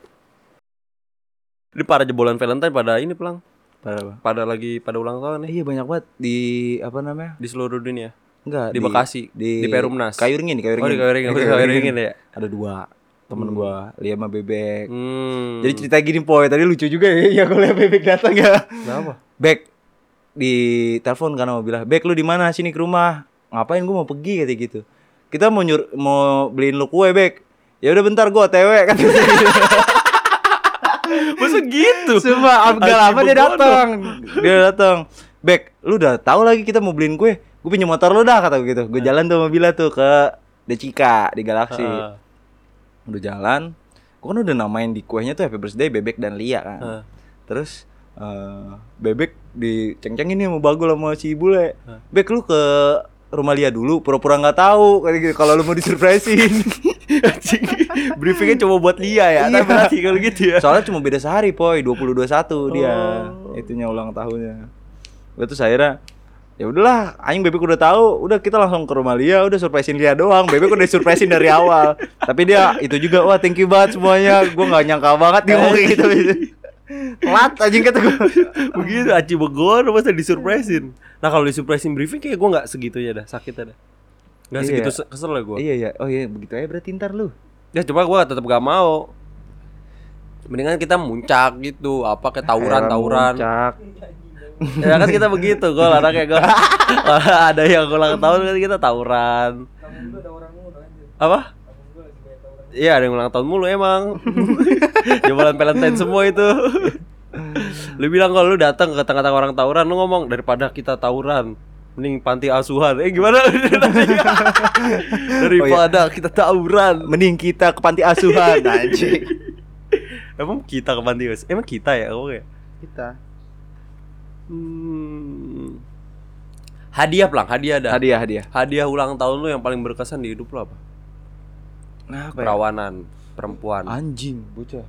Ini para jebolan Valentine pada ini pelang,
Parah, Bang.
pada lagi pada ulang tahun
Eh,
nih
iya banyak banget di apa namanya
di seluruh dunia.
Enggak,
Di Bekasi, di Perumnas.
Kayu Ringin, Kayu
Oh,
Ringin.
di Kayu Ringin, di Kayu Ringin ya?
Ada dua temen gua, Lia sama Bebek.
Hmm.
Jadi cerita gini poy, tadi lucu juga ya, ya kalau Lia Bebek datang ya.
kenapa?
Bek di telepon kan sama bilang, "Bek lu di mana? Sini ke rumah." Ngapain gua mau pergi kata gitu. Kita mau nyur mau beliin lu kue, Bek. Ya udah bentar gua TW kata gitu.
Masa gitu?
Sumpah, ab- gak
Aji
lama dia
begono.
datang. Dia datang. Bek, lu udah tahu lagi kita mau beliin kue. Gue pinjam motor lu dah kata gua gitu. Gue jalan tuh sama Bila tuh ke Decika di Galaxy.
Ah.
Udah jalan. Gue kan udah namain di kuenya tuh Happy Birthday Bebek dan Lia kan.
Ah.
Terus eh, Bebek diceng-cengin nih sama Bagul sama si Bule. Bek lu ke rumah Lia dulu pura-pura nggak tahu kayak gitu, kalau lu mau disurprisein.
Anjing. Briefingnya cuma buat Lia ya,
Iya. Oh.
tapi berarti kalau gitu ya.
Soalnya cuma beda sehari, Poy. 2021 dia. Itunya ulang tahunnya. Gue tuh akhirnya ya udahlah, anjing bebek udah tahu, udah kita langsung ke rumah Lia, udah surprisein Lia doang. Bebek udah surprisein dari awal. Tapi dia itu juga wah thank you banget semuanya. Gue nggak nyangka banget dia ngomong kayak gitu. Telat anjing kata gue.
Begitu aci begon masa disurpresin. Nah, kalau disurpresin briefing kayak gue nggak segitunya dah, sakitnya dah. Nggak
Iya.
segitu se- kesel lah gue.
Iya iya, oh iya begitu aja berarti ntar lu.
Ya cuma gua tetap gak mau. Mendingan kita muncak gitu, apa kayak tawuran tawuran.
Cak.
Ya kan kita begitu, gue anaknya gue ada yang ulang tahun kan kita tawuran. Apa? Iya ada yang ulang tahun mulu emang. Jualan Valentine semua itu. lu bilang kalau lu datang ke tengah-tengah orang tawuran, lu ngomong daripada kita tawuran, mending panti asuhan. Eh gimana? daripada kita tawuran.
Mending kita ke panti asuhan anjing.
Emang kita ke panti asuhan? Emang kita ya? Kamu kayak
Kita.
Hmm. Hadiah pelang, hadiah ada. Hadiah.
Hadiah hadiah.
ulang tahun lu yang paling berkesan di hidup lu apa?
Nah, apa ya? Ah.
Perawanan, perempuan.
Anjing, bocah.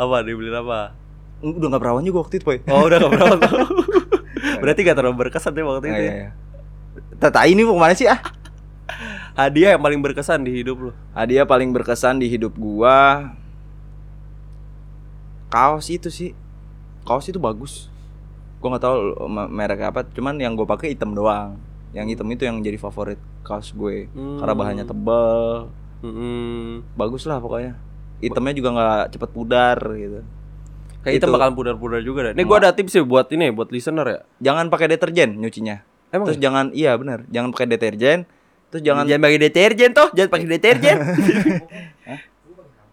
Apa dibeliin apa?
Udah nggak perawan juga waktu itu, Poy.
Oh, udah gak perawan lu. Berarti gak terlalu berkesan deh waktu itu.
Iya,
ya?
iya. Tata ini mau kemana sih ah?
hadiah yang paling berkesan di hidup lu
Hadiah paling berkesan di hidup gua kaos itu sih. Kaos itu bagus. Gua nggak tahu eh, me- merek apa, cuman yang gua pakai hitam doang. Yang hitam itu yang jadi favorit kaos gue karena bahannya tebel.
Mm-mm.
Bagus lah pokoknya. Hitamnya juga nggak cepet pudar gitu.
Kayak itu
Itu.
bakalan pudar-pudar juga deh. Ini gua ada tips sih buat ini, buat listener ya.
Jangan pakai deterjen nyucinya.
Emang
terus jangan iya benar, jangan pakai deterjen. Terus jangan
jangan pakai deterjen toh, jangan pakai deterjen.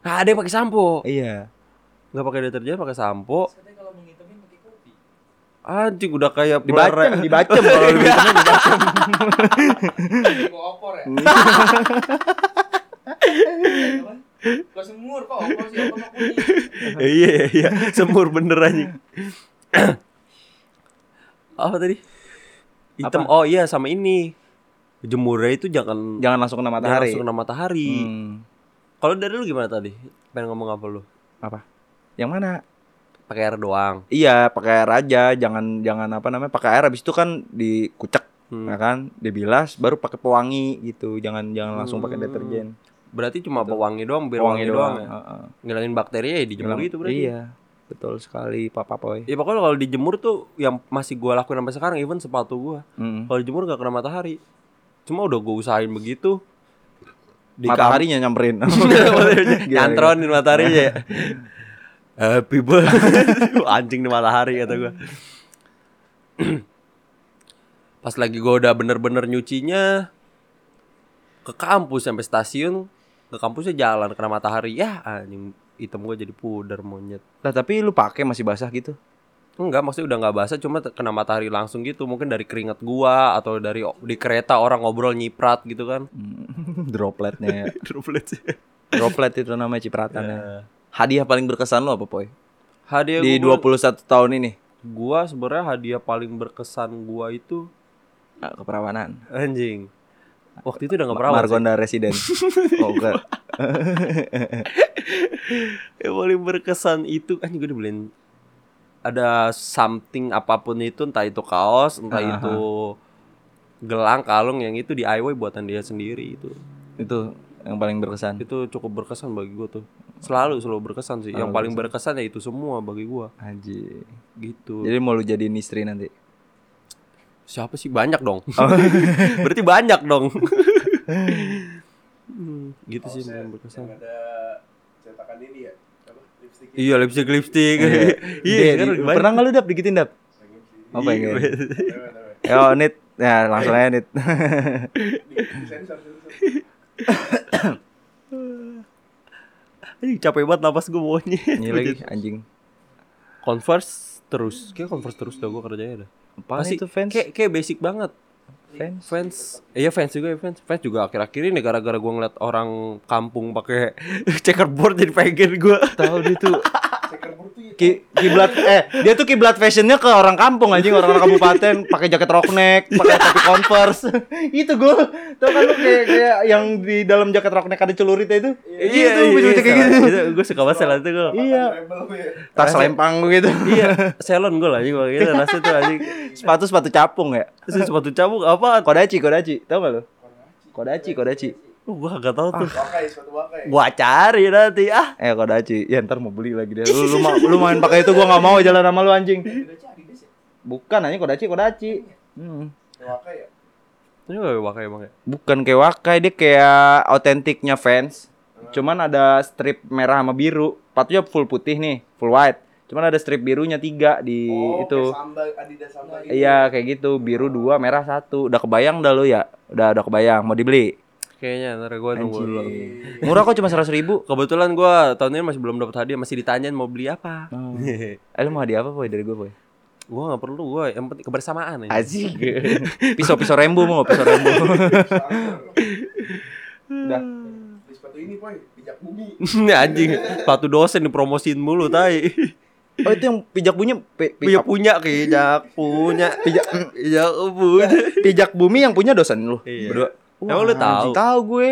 Hah? ada yang pakai sampo.
iya.
Enggak pakai deterjen, pakai sampo. Anjing udah kayak
Dibacem,
pelere-
dibacem kalau lebih hitamnya dibacem.
Mau opor ya? Kok semur kok opor sih opor mah kuning.
Iya, iya, iya. Semur bener anjing. Apa tadi? Hitam. Oh iya, sama ini. Jemurnya itu jangan
Jangan langsung kena
jangan
matahari.
langsung kena matahari.
Hmm.
Kalau dari lu gimana tadi? Pengen ngomong apa lu?
apa yang mana
Pakai air doang.
iya pakai air aja jangan jangan apa namanya pakai air habis itu kan dikucek
Hmm.
ya kan dibilas baru pakai pewangi gitu jangan jangan langsung pakai
Hmm.
deterjen
Berarti cuma Gitu. pewangi doang, biar wangi,
pewangi
doang, ya.
heeh.
Ngilangin bakteri ya dijemur
Bilang-
gitu berarti.
iya betul sekali papa poy
Ya pokoknya kalau dijemur tuh yang masih gua lakuin sampai sekarang even sepatu gua.
Mm.
Kalau dijemur gak kena matahari. Cuma udah gua usahain begitu. Di
mataharinya nyamperin
Nyantronin mataharinya ya. Happy birthday Anjing di matahari kata gue Pas lagi gue udah bener-bener nyucinya Ke kampus sampai stasiun Ke kampusnya jalan kena matahari Ya anjing hitam gue jadi pudar monyet
lah tapi lu pakai masih basah gitu
Enggak maksudnya udah nggak basah Cuma te- kena matahari langsung gitu Mungkin dari keringat gua Atau dari o- di kereta orang ngobrol nyiprat gitu kan
Mm. dropletnya ya.
Droplet sih
droplet itu namanya cipratannya hadiah paling berkesan lu apa poy
Hadiah
di
Iya. Ya, gua-
21 tahun ini
gua sebenarnya hadiah paling berkesan gua itu
Ah, keperawanan
anjing waktu itu udah nggak perawan sih.
Margonda Resident oh enggak
yang paling berkesan itu anjing gue dibeliin ada something apapun itu entah itu kaos entah
Aha.
itu gelang kalung yang itu DIY buatan dia sendiri itu
itu yang paling berkesan
itu cukup berkesan bagi gua tuh selalu selalu berkesan sih yang
Selalu
paling berkesan ya itu semua bagi gua
Haji
gitu
jadi mau lu jadiin istri nanti
siapa sih banyak dong berarti banyak dong Hmm, gitu sih yang paling berkesan
Yang ada cetakan ini ya. Apa? Lipstik.
Iya lipstick lipstick.
Iya,
Iya sekarang
di-
banyak.
pernah nggak lu dap dikitin dap apa
Iya.
ya yo nit ya langsung aja nit
Sensor, sensor.
Aduh, capek banget napas gue maunya.
ini lagi anjing
Converse terus. Kayak Converse terus dah gue kerjanya dah.
apaan
Pasti
itu fans
Kayak kayak basic banget.
fans
Fans. Iya fans juga ya fans. Fans juga akhir-akhir ini gara-gara gue ngeliat orang kampung pakai checkerboard jadi pengen gue.
tahu dia tuh
Ceker buruk tuh ya.
ki- kiblat eh dia tuh kiblat fashionnya ke orang kampung anjing orang, orang kabupaten pakai jaket rock neck pakai topi converse itu gue tau kan lu kayak kayak yang di dalam jaket rock neck ada celuritnya itu
Iya,
itu gua cerita kayak gitu
Gue iya. suka banget selan itu gue.
iya
Rebel tuh ya.
tas lempang gitu
Iya, selon gue lah anjing gua kira rasanya tuh anjing.
sepatu sepatu capung ya
Terus sepatu cabuk apa?
Kodachi, Kodachi, tau gak lu? Kodachi, Kodachi.
Gue gak Uh, tahu tuh.
Wakai, suatu wakai.
Gua cari nanti ah.
Eh Kodachi, ya ntar mau beli lagi deh. Lu lu, ma- lu main pakai itu gua nggak mau jalan sama lu anjing. Bukan hanya Kodachi, Kodachi. Hmm.
Wakai ya.
Ini gak pakai emang ya?
Bukan kayak wakai, dia kayak autentiknya fans. Cuman ada strip merah sama biru. Patunya full putih nih, full white. Cuman ada strip birunya tiga di
Oh,
itu.
kayak sandal, Adidas sandal gitu.
Iya kayak gitu, biru dua, merah satu. Udah kebayang dah lu ya? Udah udah kebayang. Mau dibeli?
Kayaknya ntar gue nunggu dulu.
Murah kok cuma seratus ribu.
Kebetulan gua tahun ini masih belum dapat hadiah, masih ditanyain mau beli apa.
Eh lu mau hadiah apa boy dari gue boy?
gua nggak perlu, gua yang penting kebersamaan aja.
Asik. Pisau-pisau rembu mau pisau rembu. Udah.
Beli sepatu ini, Poy. Bijak bumi.
Ini anjing, sepatu dosen dipromosin mulu tai.
Oh itu yang pijak bunyi pi- pi-
Pijak punya kijak punya pijak pijak punya.
pijak bumi yang punya dosen lu.
Iya.
Berdua.
Emang lu tahu? Oh,
anjing, Tahu gue.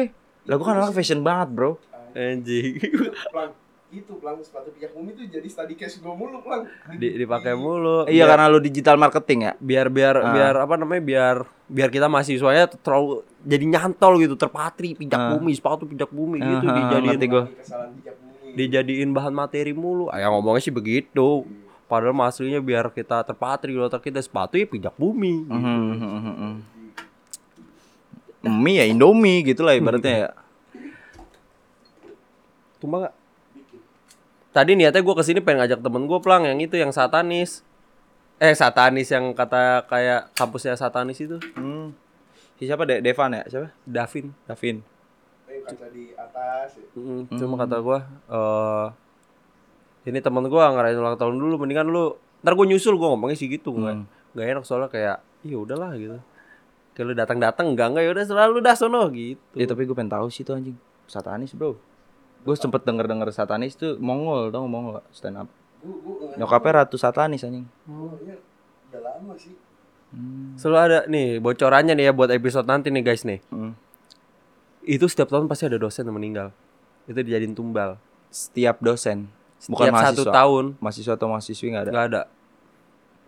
Lah gue kan orang fashion banget, Bro.
Anjing.
Pelang. Itu, Pelang. Sepatu bijak bumi tuh jadi study case gue mulu, Pelang.
Di, dipakai mulu.
Iya
Biar-
karena lu digital marketing ya.
biar biar
Ah.
biar apa namanya biar biar kita mahasiswanya terlalu jadi nyantol gitu terpatri pijak
Ah.
bumi sepatu pijak bumi gitu
Ah, ah,
dijadiin
ngerti gua.
kesalahan bijak bumi
dijadiin bahan materi mulu ah, ya ngomongnya sih begitu padahal mah aslinya biar kita terpatri di otak kita sepatu ya pijak bumi gitu.
Hmm, hmm, hmm, hmm. Mie ya Indomie gitu lah ibaratnya ya.
Tumba nggak? Gitu. Tadi niatnya gue kesini pengen ngajak temen gue pelang yang itu yang satanis. Eh satanis yang kata kayak kampusnya satanis itu.
Hmm. Si Siapa De Devan ya? Siapa?
Davin.
Davin.
Tapi kaca di atas ya.
Mm, Cuma kata gue, eh ini temen gue ngerayain ulang tahun dulu, mendingan lu ntar gue nyusul gue ngomongnya sih gitu nggak nggak enak soalnya kayak iya udahlah gitu kayak lu datang datang enggak ya enggak yaudah selalu dah sono gitu
Ya tapi gue pengen tahu sih tuh anjing. Satanis, Bro. Gue sempet denger-denger satanis tuh Mongol tau Mongol stand up.
Gue gue
Nyokapnya ratu satanis anjing.
Oh, iya. udah lama sih.
selalu ada nih bocorannya nih ya buat episode nanti nih guys nih
Hmm.
itu setiap tahun pasti ada dosen yang meninggal itu dijadiin tumbal
Setiap dosen, bukan
setiap
mahasiswa.
satu tahun
mahasiswa atau mahasiswi nggak ada.
nggak ada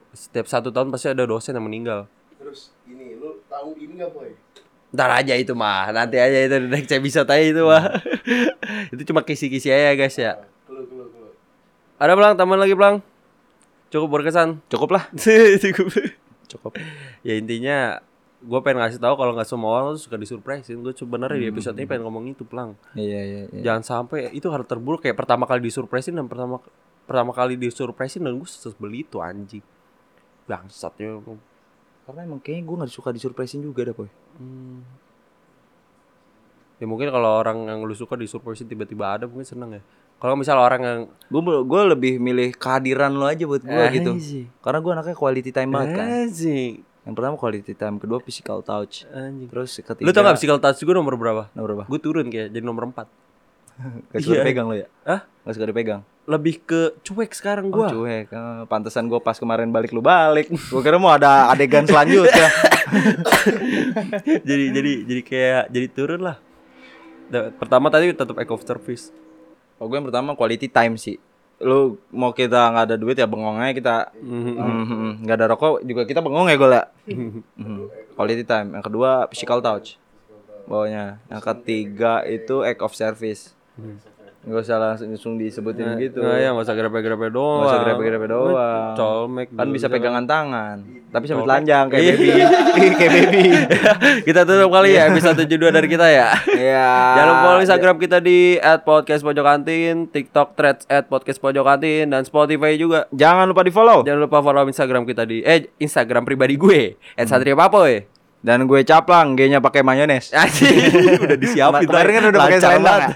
setiap satu tahun pasti ada dosen yang meninggal
Terus ini lu tahu ini enggak, Boy?
ntar aja itu mah nanti aja itu di next episode aja itu mah itu cuma kisi-kisi aja guys ya
Kelu kelu kelu.
ada pelang teman lagi pelang cukup berkesan
Cukup lah.
cukup
Cukup.
ya intinya gue pengen ngasih tahu kalau nggak semua orang tuh suka disurprisein gue sebenarnya
Hmm.
di episode ini pengen ngomong itu pelang
Iya iya iya.
jangan sampai itu hal terburuk kayak pertama kali disurpresin dan pertama pertama kali disurpresin dan gue sebeli itu anjing ya. bangsatnya
Karena emang kayaknya gue nggak suka disurprisein juga dah, Boy.
Hmm. ya mungkin kalau orang yang lu suka disurpresin tiba-tiba ada mungkin seneng ya kalau misalnya orang yang
Gue gue lebih milih kehadiran lo aja buat gue gitu.
anjing
Karena gue anaknya quality time banget kan.
anjing
Yang pertama quality time, kedua physical touch.
anjing
Terus ketiga
lu tau gak physical touch gue nomor berapa
Nomor berapa?
gue turun kayak jadi nomor 4
Gak suka
Iya.
dipegang lo ya?
Hah?
Gak suka dipegang?
lebih ke cuek sekarang
Oh
gue
cuek, Eh, pantesan gue pas kemarin balik lu balik Gue kira mau ada adegan selanjutnya
jadi jadi jadi kayak jadi turun lah Da- pertama tadi tetap act of service
Oh gue yang pertama quality time sih Lu mau kita nggak ada duit ya bengong aja kita
Hmm.
Mhm, nggak ada rokok juga kita bengong ya gue lah Mhm. Quality time Yang kedua physical touch Bawahnya Yang ketiga itu act of service Gak usah langsung, langsung disebutin gitu
Hmm. Nah, ya, nggak usah grepe-grepe doang.
Nggak usah grepe-grepe doang.
Colmek.
Kan bisa Iya. pegangan tangan Tapi sambil
Colmek.
telanjang kayak baby Kayak baby
kita tutup kali ya episode 72 dari kita ya.
Iya
Jangan lupa follow Instagram kita di @podcastpojokantin, TikTok threads @podcastpojokantin dan Spotify juga.
Jangan lupa di follow
Jangan lupa follow Instagram kita di eh Instagram pribadi gue @satriapapoy.
Dan gue caplang, G-nya pakai mayones.
Anjing, udah disiapin.
Kemarin
tadi.
kan udah pakai
Lancar
selendang
banget.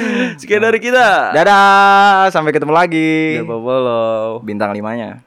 Sekian dari kita.
Dadah, sampai ketemu lagi.
Jangan lupa follow.
Bintang limanya.